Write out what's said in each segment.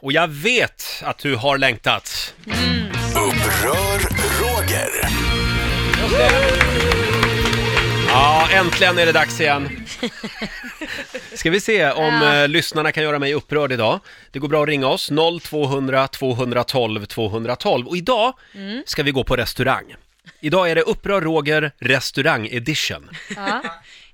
Och jag vet att du har längtat. Upprör Roger. Ja, äntligen är det dags igen. Ska vi se om eh, lyssnarna kan göra mig upprörd idag. Det går bra att ringa oss, 0200 212 212. Och idag ska vi gå på restaurang. Idag är det Upprör Roger restaurang edition.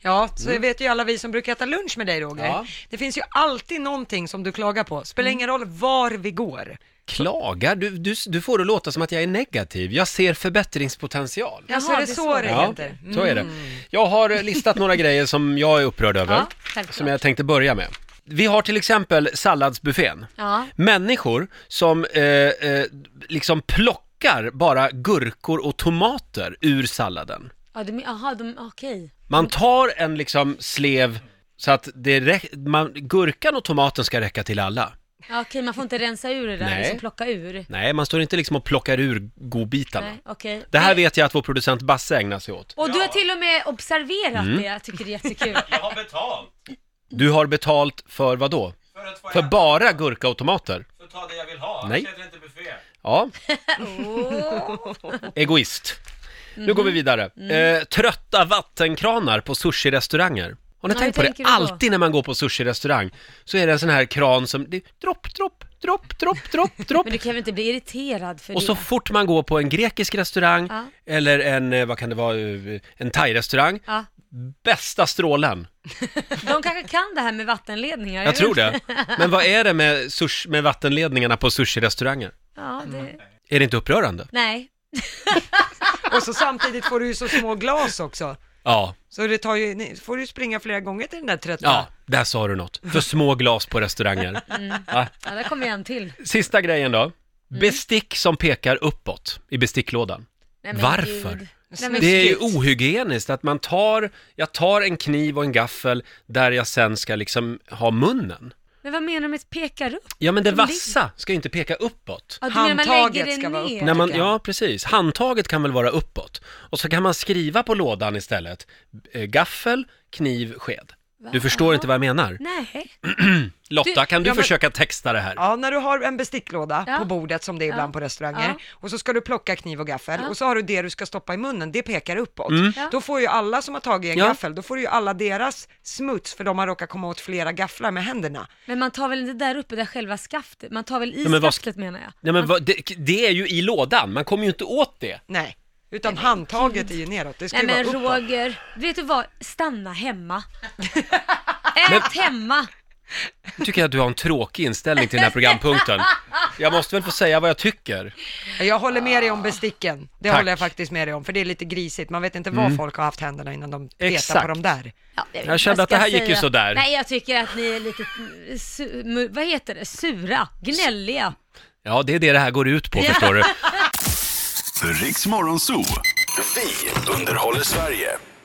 Ja, så vet ju alla vi som brukar äta lunch med dig Roger. Mm. Ja. Det finns ju alltid någonting som du klagar på. Spelar ingen roll var vi går. Klagar? Du, du, du får det låta som att jag är negativ. Jag ser förbättringspotential. Jaha, alltså, det är så det Ja, heter. så är det. Jag har eh, listat några grejer som jag är upprörd över, Mm. Ja, självklart. som jag tänkte börja med. Vi har till exempel salladsbuffén. Ja. Människor som eh, eh, liksom plockar bara gurkor och tomater ur salladen. Ja, de, aha, de, okej. Man tar en liksom slev så att det rä- man, gurkan och tomaten ska räcka till alla. Ja, okej, man får inte rensa ur det där, Nej. liksom plocka ur. Nej, man står inte liksom och plockar ur godbitarna. Nej, okej. Det här vet jag att vår producent Basse ägnar sig åt. Och du har till och med observerat Mm. det, jag tycker det är jättekul. har betalt Du har betalt för vad då? för att få För äta, bara gurka och tomater? för att ta det jag vill ha. Nej. Annars äter jag inte buffé. Ja. Egoist. Nu går vi vidare. Mm. Eh, trötta vattenkranar på sushi-restauranger. Har ni Ja, tänkt på hur det? tänker du då? Alltid när man går på sushi-restaurang så är det en sån här kran som, det är dropp, dropp, dropp, dropp, dropp, dropp. Men du kan väl inte bli irriterad för Och det? så fort man går på en grekisk restaurang Ja. eller en, eh, vad kan det vara, eh, en thai-restaurang, Ja. bästa strålen. De kanske kan det här med vattenledningar? Jag tror vet det. Men vad är det med, sush, med vattenledningarna på sushi-restauranger? inte. Ja, det... Är det inte upprörande? Nej. Mm. Och så samtidigt får du ju så små glas också. Ja, Så det tar ju, nej, får du springa flera gånger till den där trötta. ja, där sa du något. För små glas på restauranger. Ja. Ja, där kommer en till. Nej, Sista grejen då. Bestick som pekar uppåt i besticklådan. men Varför? Gud. Nej, men Det är ju gud. ohygieniskt att man tar, jag tar en kniv och en gaffel där jag sen ska liksom ha munnen. Men vad menar du med pekar upp? Ja men det De ligger- vassa ska ju inte peka uppåt. Ja, du menar man lägger Handtaget det ska vara ner? uppe. När man, tycker jag. ja precis, handtaget kan väl vara uppåt. Och så kan man skriva på lådan istället, eh, gaffel, kniv, sked. Du förstår inte vad jag menar. Nej. Lotta, kan du Ja, men- försöka texta det här? Ja, när du har en besticklåda Ja. på bordet som det är ibland på restauranger Ja. och så ska du plocka kniv och gaffel och så har du det du ska stoppa i munnen, det pekar uppåt. Ja. Då får ju alla som har tagit en Mm. Ja. gaffel, då får ju alla deras smuts för de har råkat komma åt flera gafflar med händerna. Men man tar väl inte där uppe, där själva skaftet? Man tar väl i Ja, men vad- skaftet menar jag? Nej men vad, det, det är ju i lådan, man kommer ju inte åt det. Nej, utan handtaget är ju neråt, det ska Nej ju men vara uppåt. Roger, vet du vad? Stanna hemma. Ät hemma. Nu tycker jag att du har en tråkig inställning till den här programpunkten. Jag måste väl få säga vad jag tycker. Jag håller med dig om besticken, det Tack. Mm. håller jag faktiskt med dig om, för det är lite grisigt, man vet inte var folk har haft händerna innan de petar Exakt. på dem där. Ja, vet Jag inte kände vad att det här ska gick ju säga. sådär. Nej jag tycker att ni är lite, mm, su- mu- vad heter det, sura, gnälliga. Ja, det är det det här går ut på förstår du. Riks Morgonzoo. Vi underhåller Sverige.